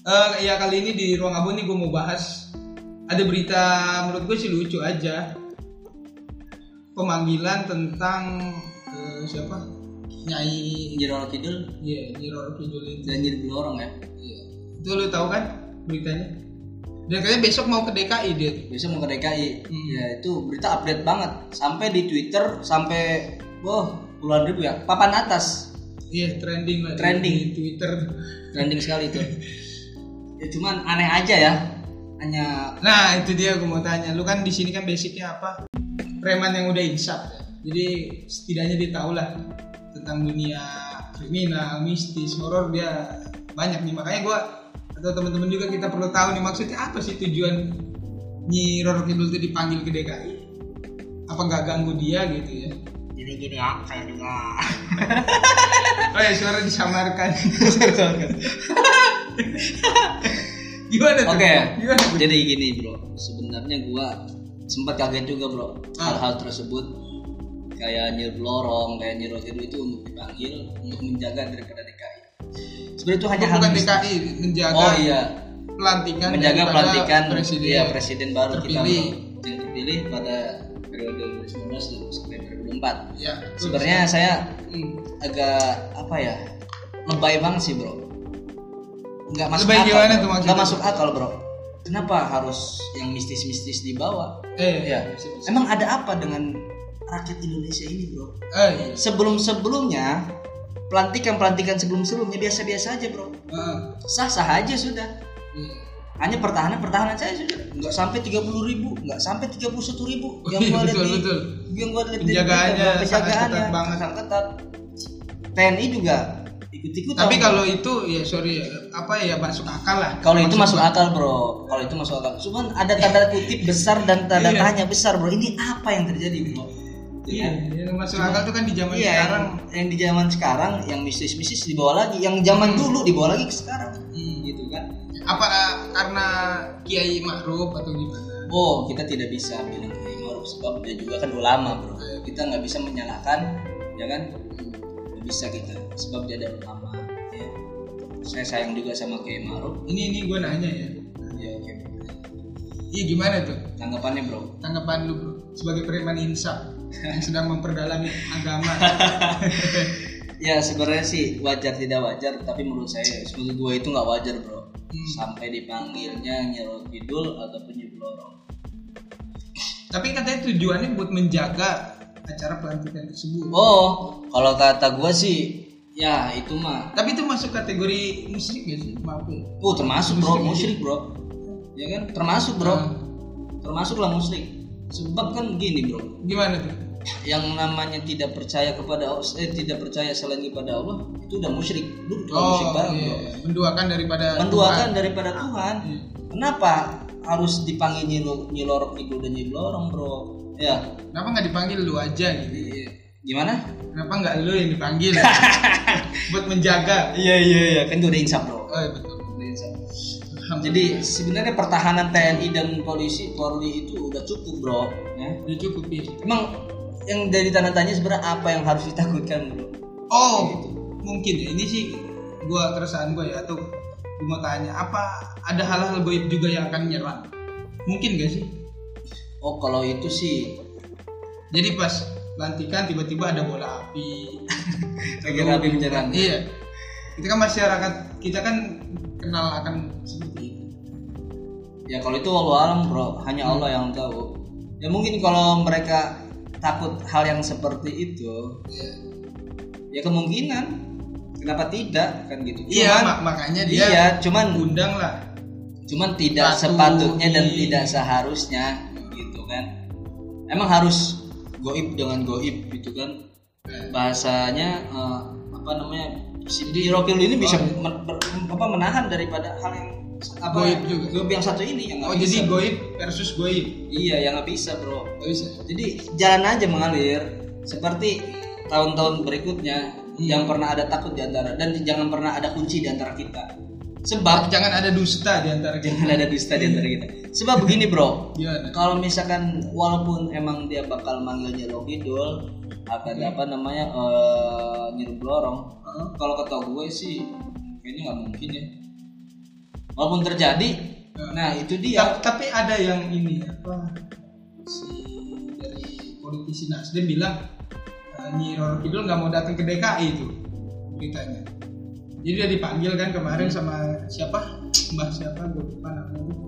Eh, ya kali ini di ruang abu nih gue mau bahas ada berita menurut gue sih lucu aja pemanggilan tentang eh, siapa Nyai Jiro Kidul ya Nyi Roro Kidul itu Janjir Blorong ya Iya. itu lu tahu kan beritanya dan katanya besok mau ke DKI dia tuh. Biasa mau ke DKI Hmm. Ya itu berita update banget Sampai di Twitter Sampai Wah puluhan ribu ya Papan atas iya trending lah di- Trending. di Twitter Trending sekali itu Ya cuman aneh aja ya Hanya nah itu dia gue mau tanya lu kan di sini kan basicnya apa preman yang udah insaf ya. jadi setidaknya dia tahu lah tentang dunia kriminal mistis horor dia banyak nih makanya gue atau teman-teman juga kita perlu tahu nih maksudnya apa sih tujuan Nyi Roro Kidul itu dipanggil ke DKI apa nggak ganggu dia gitu ya Gini-gini ya Saya juga Oh ya suara disamarkan. Gimana tuh? Oke. Gimana tuh? Jadi gini bro, sebenarnya gua sempat kaget juga bro Ah. hal-hal tersebut kayak nyir lorong, kayak nyir Rokiru itu untuk dipanggil untuk menjaga daripada DKI. Sebenarnya itu hanya hal Oh, Bukan mis- DKI menjaga Oh iya, pelantikan menjaga kan daripada pelantikan presiden. iya, presiden baru kita terpilih. bro, yang terpilih pada periode 2019 sampai 2024. Ya, betul. Sebenarnya saya Hmm. agak apa ya lebay banget sih bro nggak masuk Lebay akal gimana bro. tuh maksudnya? nggak masuk akal bro kenapa harus yang mistis-mistis dibawa Eh, Iya. emang ada apa dengan rakyat Indonesia ini bro Eh, iya. sebelum-sebelumnya pelantikan-pelantikan sebelum-sebelumnya biasa-biasa aja bro Heeh. sah-sah aja sudah Iya. hanya pertahanan-pertahanan saya sudah nggak sampai 30.000 ribu nggak sampai 31.000 ribu yang Iya, gua lihat betul, di betul. yang gua lihat di Penjagaannya berita, bro. sangat penjagaannya ketat banget. sangat ketat TNI juga ikut-ikut Tapi kalau itu ya sorry ya, apa ya masuk akal lah. Kalau itu masuk Maksud- akal bro, kalau itu masuk akal. Cuman ada tanda kutip besar dan tanda Iya. tanya besar bro. Ini apa yang terjadi bro? Iya, Iya. yang masuk akal tuh kan di zaman Iya. sekarang. Yang, yang di zaman sekarang, yang mistis-mistis dibawa lagi, yang zaman dulu dibawa lagi ke sekarang, Hmm. gitu kan? Apa eh, karena Kiai Ma'ruf atau gimana? Oh, kita tidak bisa bilang Kiai Ma'ruf sebab dia juga kan ulama bro. Kita nggak bisa menyalahkan, ya kan? Nggak bisa kita sebab dia ada ulama. Ya. Saya sayang juga sama Kiai Ma'ruf. Ini ini gue nanya ya. Ya oke. Iya gimana tuh? Tanggapannya bro? tanggapan lu bro sebagai preman insaf yang sedang memperdalami agama Ya sebenarnya sih wajar tidak wajar, tapi menurut saya menurut gue itu nggak wajar bro. Sampai dipanggilnya Nyiro Kidul ataupun Nyi Blorong. tapi katanya tujuannya buat menjaga acara pelantikan tersebut Oh, kalau kata gue sih, ya itu mah, tapi itu masuk kategori musik ya sih maaf ya uh termasuk bro, Musyrik. musyrik bro, ya kan, termasuk bro, Ah. termasuklah musyrik. Sebab kan gini bro, gimana tuh yang namanya tidak percaya kepada Allah, eh tidak percaya selain kepada Allah itu udah musyrik, lu udah musyrik banget iya. bro. menduakan daripada menduakan daripada Oh, Tuhan. Ah. Iya. Kenapa harus dipanggil nyilor nyilorok itu dan nyilorong bro? Ya, Tuhan. kenapa nggak dipanggil lu aja gitu i- i- gimana? kenapa nggak lu yang dipanggil buat menjaga Iya iya iya, kan gue udah insaf oh, bro. iya, betul Udah insaf. Alhamdulillah. Jadi sebenarnya pertahanan TNI dan polisi Polri itu udah cukup bro. Ya. udah cukup ya Emang yang dari tanda tanya sebenarnya apa yang harus ditakutkan bro? Oh, mungkin ya. Ini sih gua keresahan gua ya atau gua mau tanya apa ada hal-hal goib juga yang akan nyerang? Mungkin gak sih? Oh kalau itu sih Jadi pas pelantikan tiba-tiba ada bola api. lagi rapi menyerang. ya? iya. Kita kan masyarakat kita kan kenal akan seperti itu. Ya kalau itu walau alam bro, hanya Hmm. Allah yang tahu. Ya mungkin kalau mereka takut hal yang seperti itu, Iya. ya kemungkinan kenapa tidak kan gitu. Iya, Cuman- mak- makanya dia iya, cuman undang lah. cuman tidak Patuhi. sepatutnya dan tidak seharusnya gitu kan. Emang harus goib dengan goib gitu kan. Bahasanya eh, apa namanya? Si Rokil ini bisa men- ber- apa, menahan daripada hal yang apa Goib juga. goib yang satu ini yang Oh, nggak bisa. jadi goib versus goib. Iya, yang nggak bisa, Bro. Gak bisa. Jadi jalan aja mengalir seperti tahun-tahun berikutnya Hmm. yang pernah ada takut di antara dan jangan pernah ada kunci di antara kita. Sebab Jangan ada dusta di antara kita. Iya, jangan ada dusta di antara kita. Sebab begini, Bro. Gimana? Kalau misalkan walaupun emang dia bakal manggilnya Lo Kidul apa apa namanya eh nyirup lorong. Kalau kata gue sih kayaknya nggak mungkin ya. walaupun terjadi nah itu dia Ta- tapi ada yang ini apa si dari politisi Nasdem bilang eh, Nyi Roro Kidul nggak mau datang ke DKI itu beritanya. Jadi dia dipanggil kan kemarin sama siapa Mbah siapa gue lupa namanya. tuh.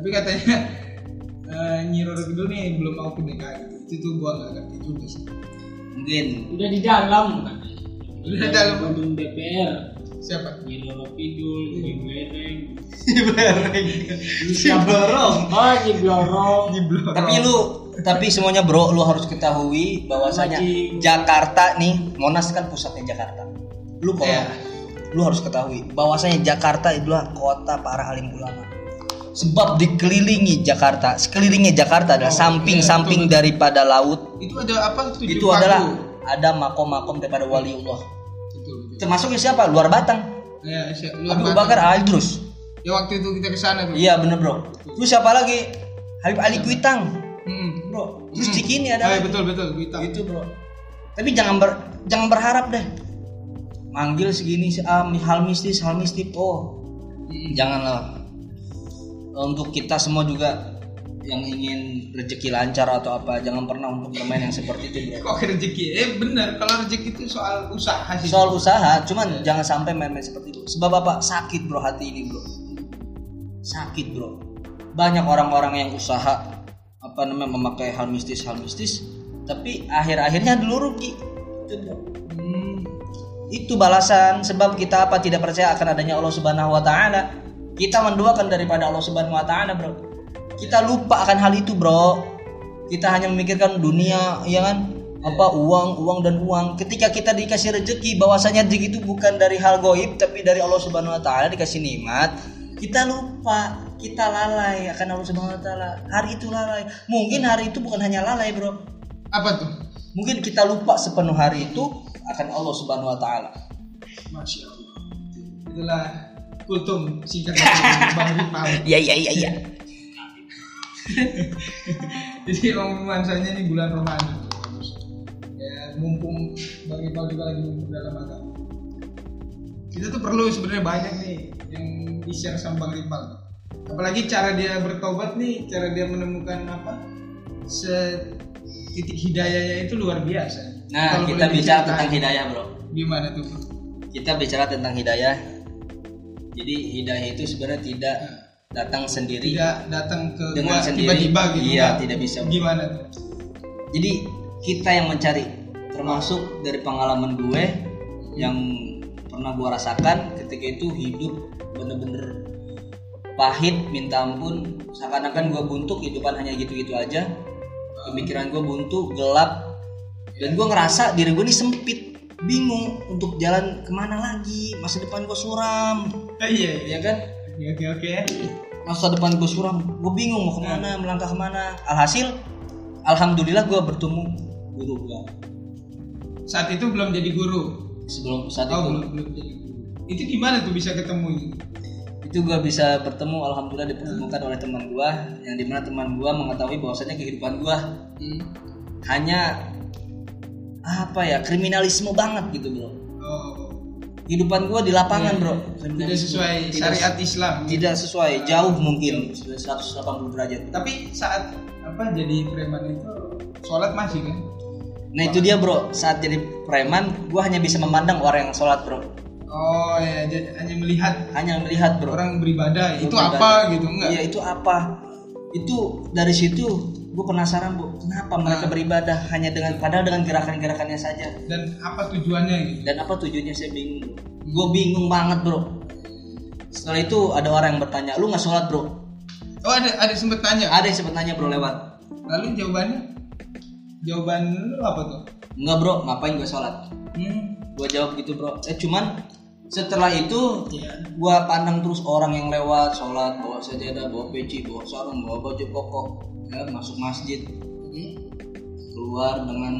Tapi katanya eh, Nyi Roro Kidul nih belum mau ke DKI itu tuh gua nggak ngerti juga sih. mungkin udah di dalam kan Udah di dalam. gedung DPR Siapa? Nyiroro Kidul, Nyireng, si bereng si berong oh Nyiblorong Nyiblorong. tapi lu tapi semuanya bro lu harus ketahui bahwasanya Lagi- Jakarta nih Monas kan pusatnya Jakarta lu kalau Iya. lu harus ketahui bahwasanya Jakarta adalah kota para alim ulama sebab dikelilingi Jakarta sekelilingnya Jakarta adalah Oh, samping-samping daripada laut itu ada apa tujuh Oh. itu paku. adalah ada makom-makom daripada waliullah Betul, betul. termasuknya siapa luar Batang Ya, si- lu Abu apa- Bakar Al Idrus Ya waktu itu kita kesana tuh. iya bener bro terus siapa lagi Habib Ali Kuitang Hmm. bro terus Hmm. Cikini ada Oh, iya, lagi. betul betul kita. itu Gitu, bro tapi jangan ber, jangan berharap deh manggil segini si ah, hal mistis hal mistis oh janganlah Eh, untuk kita semua juga yang ingin rezeki lancar atau apa jangan pernah untuk bermain yang seperti itu bro Kok rezeki? Eh bener, kalau rezeki itu soal usaha sih. soal usaha cuman jangan sampai main-main seperti itu sebab apa sakit bro hati ini bro sakit bro banyak orang-orang yang usaha apa namanya memakai hal mistis hal mistis tapi akhir-akhirnya dulu rugi itu bro Hmm. itu balasan sebab kita apa tidak percaya akan adanya Allah Subhanahu wa taala. Kita mendoakan daripada Allah Subhanahu wa taala, Bro. Kita lupa akan hal itu, Bro. Kita hanya memikirkan dunia, ya kan? Apa uang, uang dan uang. Ketika kita dikasih rezeki, bahwasanya rezeki itu bukan dari hal goib tapi dari Allah Subhanahu wa taala dikasih nikmat. Kita lupa, kita lalai akan Allah Subhanahu wa taala. Hari itu lalai. Mungkin hari itu bukan hanya lalai, Bro Apa tuh? mungkin kita lupa sepenuh hari itu akan Allah Subhanahu wa taala. Masya Allah. Itulah kultum singkat dari Bang Ripam. Iya iya iya iya. Jadi emang nuansanya ini bulan Ramadan. Ya, mumpung Bang Ripam juga lagi mumpung dalam agama. Kita tuh perlu sebenarnya banyak nih yang di-share sama Bang Ripam. Apalagi cara dia bertobat nih, cara dia menemukan apa? Se titik hidayahnya itu luar biasa. Nah, Kalau kita boleh bicara diceritain, tentang hidayah, Bro. gimana tuh? Bro? Kita bicara tentang hidayah. Jadi hidayah itu sebenarnya tidak datang sendiri. tidak datang ke Dengan gua sendiri. tiba-tiba gitu Iya, Pak. tidak bisa. gimana tuh Jadi kita yang mencari termasuk dari pengalaman gue yang pernah gue rasakan ketika itu hidup bener-bener pahit minta ampun seakan-akan gue buntu kehidupan hanya gitu-gitu aja pemikiran gue buntu gelap dan gue ngerasa diri gue ini sempit bingung untuk jalan kemana lagi masa depan gue suram Eh, iya iya ya kan oke oke oke masa depan gue suram gue bingung mau kemana melangkah kemana alhasil alhamdulillah gue bertemu guru gue saat itu belum jadi guru sebelum saat oh itu belum belum jadi guru itu gimana tuh bisa ketemu itu gue bisa bertemu alhamdulillah dipertemukan oleh teman gue yang dimana teman gue mengetahui bahwasanya kehidupan gue Hmm. hanya apa ya kriminalisme banget gitu bro oh kehidupan gue di Iya. lapangan bro tidak sesuai tidak, syariat Islam tidak sesuai jauh mungkin 180 derajat tapi saat apa jadi preman itu sholat masih kan nah itu dia bro saat jadi preman gue hanya bisa memandang orang yang sholat bro oh ya jadi hanya melihat hanya melihat bro orang beribadah itu Beribadah. apa gitu enggak Iya itu apa? Itu dari situ gue penasaran bu, kenapa mereka Nah. beribadah hanya dengan padahal dengan gerakan-gerakannya saja dan apa tujuannya gitu dan apa tujuannya saya bingung. Gue bingung banget bro. Setelah itu ada orang yang bertanya, lu nggak sholat oh bro? ada ada sempet tanya Ada yang sempat nanya bro lewat, lalu jawabannya jawaban lu apa tuh nggak bro, ngapain gue sholat? hmm. Gue jawab gitu bro. Eh cuman setelah itu Iya. gue pandang terus orang yang lewat sholat bawa sajadah, bawa peci, bawa sarung, bawa baju koko, ya, masuk masjid, keluar dengan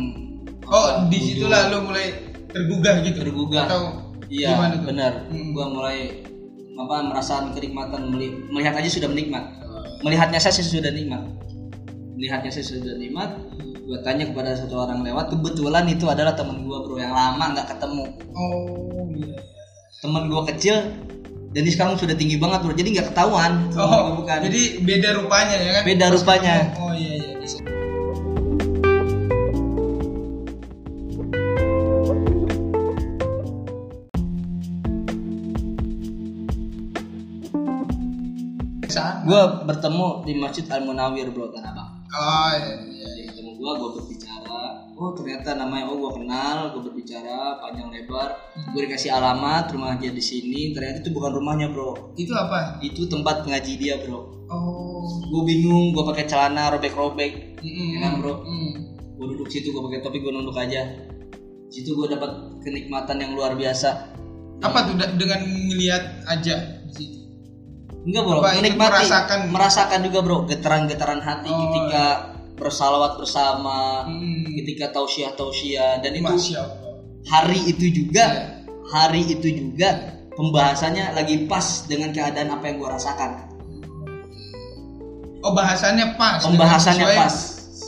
Oh, apa, di wudhu. situlah lu mulai tergugah gitu. Tergugah. Atau iya gimana tuh? benar Hmm. gua mulai apa merasakan kenikmatan meli- melihat aja sudah eh, menikmat melihatnya saya sih sudah nikmat melihatnya saya sudah nikmat gua tanya kepada satu orang lewat kebetulan itu adalah teman gua bro yang lama nggak ketemu Oh, iya. teman gua kecil dan ini sekarang sudah tinggi banget bro jadi nggak ketahuan Oh, bukan Jadi beda rupanya ya kan? Beda Pas rupanya. ketemu, Oh iya iya bisa. Saat- gue bertemu di masjid Al Munawir bro tanah abang Oh iya. iya. dari ketemu gue gue berbicara oh ternyata namanya oh gue kenal gue berbicara panjang lebar gue dikasih alamat rumahnya di sini ternyata itu bukan rumahnya bro Itu apa? itu tempat ngaji dia bro Oh. gue bingung gue pakai celana robek-robek Mm-mm. Ya kan, bro? Mm. gue duduk situ gue pakai topi gue nunduk aja situ gue dapat kenikmatan yang luar biasa Apa tuh da- dengan ngeliat aja di situ? enggak bro Apa itu menikmati merasakan? Merasakan juga bro getaran-getaran hati Oh, ketika bersalawat bersama Mm. ketika tausiah tausiah dan itu Masya Allah. hari itu juga hari itu juga pembahasannya lagi pas dengan keadaan apa yang gue rasakan Oh bahasannya pas. pembahasannya Sesuai pas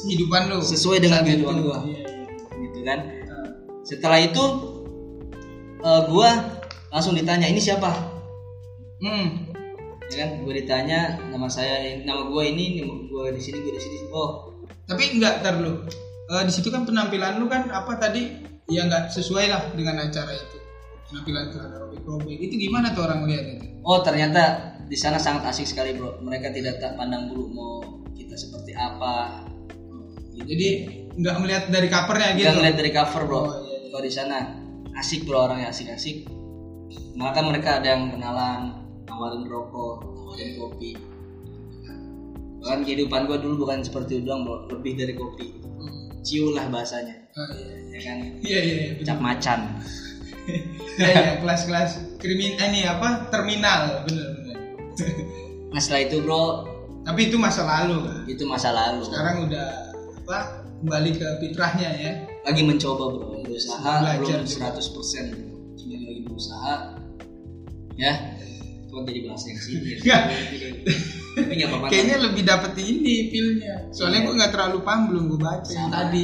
Kehidupan lu. sesuai Saat dengan kehidupan itu. gue Iya, iya. gitu kan setelah itu eh, gua langsung ditanya ini siapa Hmm. ya kan gue ditanya nama saya nama gue ini nama gue di sini gue di sini oh Tapi enggak ntar lu. Eh, di situ kan penampilan lu kan apa tadi? Ya enggak sesuai lah dengan acara itu. Penampilan celana robek-robek itu gimana tuh orang lihat itu? oh ternyata di sana sangat asik sekali bro mereka tidak tak pandang bulu mau kita seperti apa Ya, Jadi enggak melihat dari covernya kita gitu. ngeliat dari cover bro Oh, iya, iya. kalau di sana asik bro orangnya asik asik maka mereka ada yang kenalan nawarin rokok Iya. nawarin kopi bahkan kehidupan gue dulu bukan seperti itu doang bro lebih dari kopi Hmm. ciulah bahasanya Oh, iya. ya kan Iya iya iya. betul. cap macan Iya iya kelas-kelas krimin eh, ini apa? Terminal bener bener. nah setelah itu bro Tapi itu masa lalu kan. itu masa lalu Sekarang udah apa? Kembali ke fitrahnya ya. lagi mencoba bro berusaha Belajar belum juga. 100 persen cuma lagi berusaha ya cuma jadi bahasa yang sini Nggak. tapi nggak apa-apa Kayaknya lebih dapet ini filmnya. Soalnya Iya. gue nggak terlalu paham belum gue baca yang Sama. tadi.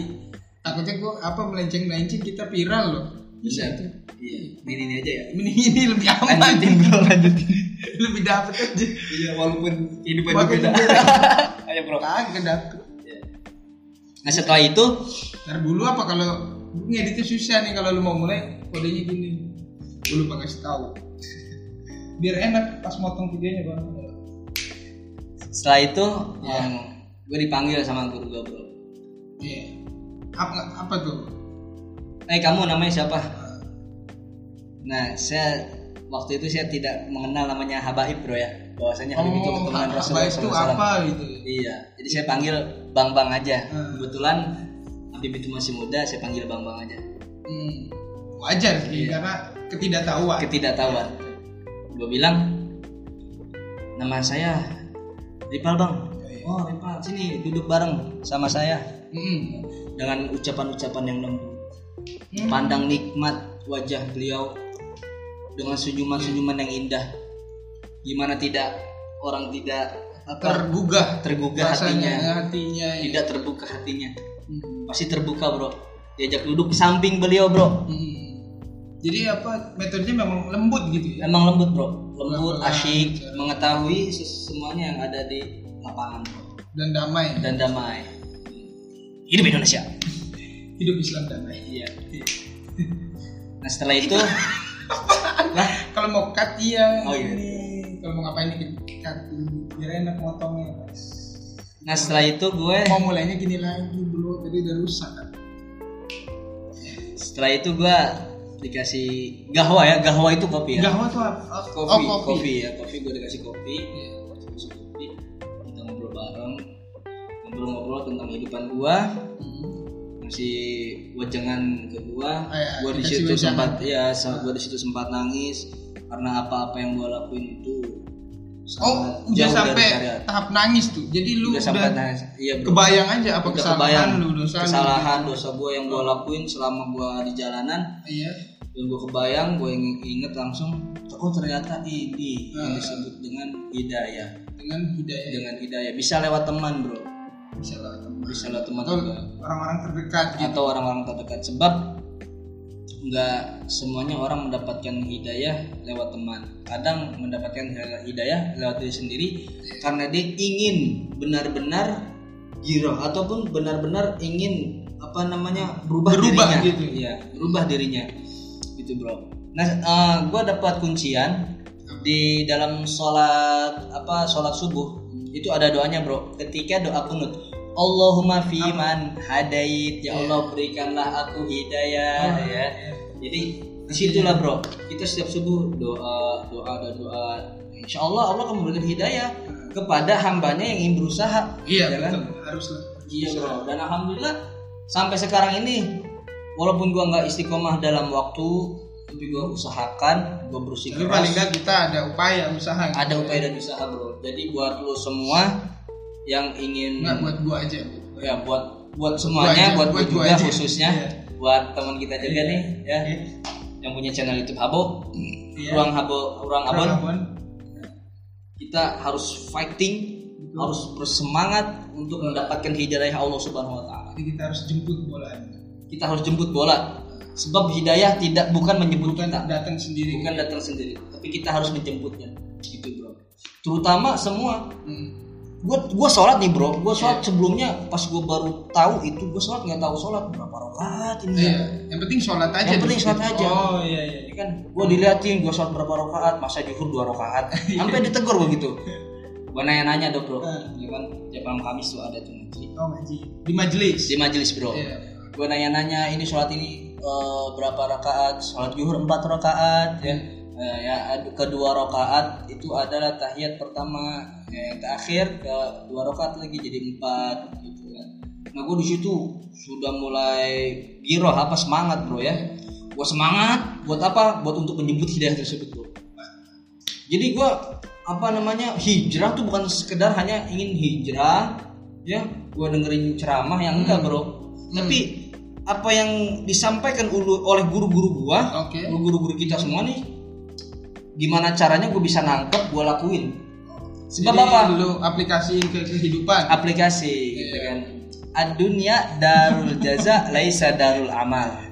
Takutnya gue apa melenceng melenceng kita viral loh. bisa Bisa tuh tuh. iya ini ini aja ya Ini, ini lebih aman, lanjutin bro lanjutin lebih dapet aja. iya walaupun hidup itu Makin beda beda. ayo bro Kagak dapet. nah setelah itu Ntar dulu apa kalau ngeditnya susah nih kalau lu mau mulai kodenya gini. Gue lupa kasih tahu. Biar enak pas motong videonya bang. setelah itu Iya. yang gue dipanggil sama guru gue bro Iya. Apa, apa tuh? eh kamu namanya siapa nah saya waktu itu saya tidak mengenal namanya Habaib bro ya bahwasanya Habib itu Oh, keturunan apa Rasulullah itu SAW. apa gitu? Iya, jadi saya panggil Bang Bang aja. Hmm. Kebetulan Habib itu masih muda, saya panggil Bang Bang aja. Hmm. Wajar sih Iya. karena ketidaktahuan. Ketidaktahuan. Gue bilang nama saya Ripal Bang. Oh Ripal, sini duduk bareng sama saya Mm-mm. dengan ucapan-ucapan yang lembut, Hmm. pandang nikmat wajah beliau dengan senyuman-senyuman yang indah. Gimana tidak orang tidak apa tergugah tergugah hatinya, rasanya hatinya ya. tidak terbuka hatinya. Hmm. pasti terbuka bro diajak duduk samping beliau bro Hmm. jadi apa metodenya memang lembut gitu ya emang lembut bro lembut Pelan-pelan, asyik cara- mengetahui ses- semuanya yang ada di lapangan bro. dan damai dan damai hidup Indonesia hidup Islam damai iya nah setelah itu lah kalau mau cut iya Oh, iya. ini. kalau mau ngapain ini cut biar enak motongnya Mas. nah setelah itu gue mau mulainya gini lagi dulu tadi udah rusak kan setelah itu gue dikasih gahwa ya gahwa itu kopi ya gahwa tuh apa kopi, oh, kopi. kopi. ya kopi gue dikasih kopi gue dikasih kopi kita ngobrol bareng ngobrol-ngobrol tentang kehidupan gua Hmm. masih wejangan kedua Ah, iya, gua di dikasih situ wejangan. sempat ya gua di situ sempat nangis karena apa-apa yang gua lakuin itu sangat oh udah jauh dari sampai syariat. tahap nangis tuh jadi udah, lu udah, sampai nangis iya bro. kebayang aja apa Udah kesalahan kebayang. lu dosa lu. kesalahan dosa gua yang gua lakuin selama gua di jalanan iya dan gua kebayang gua ing- inget langsung oh ternyata ini yang Ah. disebut dengan hidayah dengan hidayah dengan hidayah bisa lewat teman bro bisa lah teman bisa lewat teman atau juga orang-orang terdekat gitu atau orang-orang terdekat sebab nggak semuanya orang mendapatkan hidayah lewat teman kadang mendapatkan hidayah lewat diri sendiri karena dia ingin benar-benar giro ataupun benar-benar ingin apa namanya berubah, Berubah dirinya gitu. Iya, berubah dirinya gitu bro nah eh, gua dapat kuncian di dalam sholat apa sholat subuh itu ada doanya bro ketika doa kunut Allahumma fi man hadait ya Iya. Allah berikanlah aku Ah, hidayah ya jadi disitulah bro kita setiap subuh doa doa dan doa Insya Allah Allah akan memberikan hidayah kepada hambanya yang ingin berusaha Hmm. Iya ya kan? betul, haruslah. Iya bro. Dan alhamdulillah sampai sekarang ini walaupun gua nggak istiqomah dalam waktu tapi gua usahakan, gua berusaha Tapi paling nggak kita ada upaya usaha. gitu. ada upaya dan usaha bro. Jadi buat lo semua yang ingin Nggak buat gua aja. ya buat buat semuanya, aja, buat buat gua gua juga aja. khususnya, Iya. buat teman kita juga nih ya Iya. yang punya channel YouTube Habo, Iya. ruang Habo, ruang Abon, Kurang abon. kita harus fighting, harus bersemangat untuk mendapatkan hidayah Allah Subhanahu Wa Taala. Jadi kita harus jemput bola. kita harus jemput bola sebab hidayah tidak bukan menyebut Bukan kita datang sendiri. kan. bukan datang sendiri tapi kita harus menjemputnya gitu bro terutama semua Hmm. gue gua sholat nih bro gue sholat Iya. sebelumnya pas gue baru tahu itu gue sholat nggak tahu sholat berapa rakaat ini Iya. ya Yang penting sholat aja. Yang penting dulu. sholat aja. Oh iya iya. Ini kan gue diliatin gue sholat berapa rakaat masa juhur dua rakaat sampai ditegur begitu Iya. gue nanya-nanya dong bro Hmm. ya kan tiap malam kamis tuh ada tuh ngaji Oh ngaji di majelis. di majelis bro Iya. gue nanya-nanya ini sholat ini eh, berapa rakaat sholat zuhur empat rakaat ya Eh, ya ad- kedua rakaat itu adalah tahiyat pertama Ya, yang terakhir ke dua rakaat lagi jadi empat gitu kan nah gue di situ sudah mulai giroh apa semangat bro ya gue semangat buat apa buat untuk menjemput hidayah tersebut bro jadi gue apa namanya hijrah tuh bukan sekedar hanya ingin hijrah ya gue dengerin ceramah yang enggak bro tapi apa yang disampaikan ulu- oleh guru-guru gua Oke. guru-guru kita semua nih gimana caranya gue bisa nangkep gue lakuin sebab Jadi apa Lu aplikasi ke kehidupan. aplikasi gitu kan ad dunia darul jaza laisa darul amal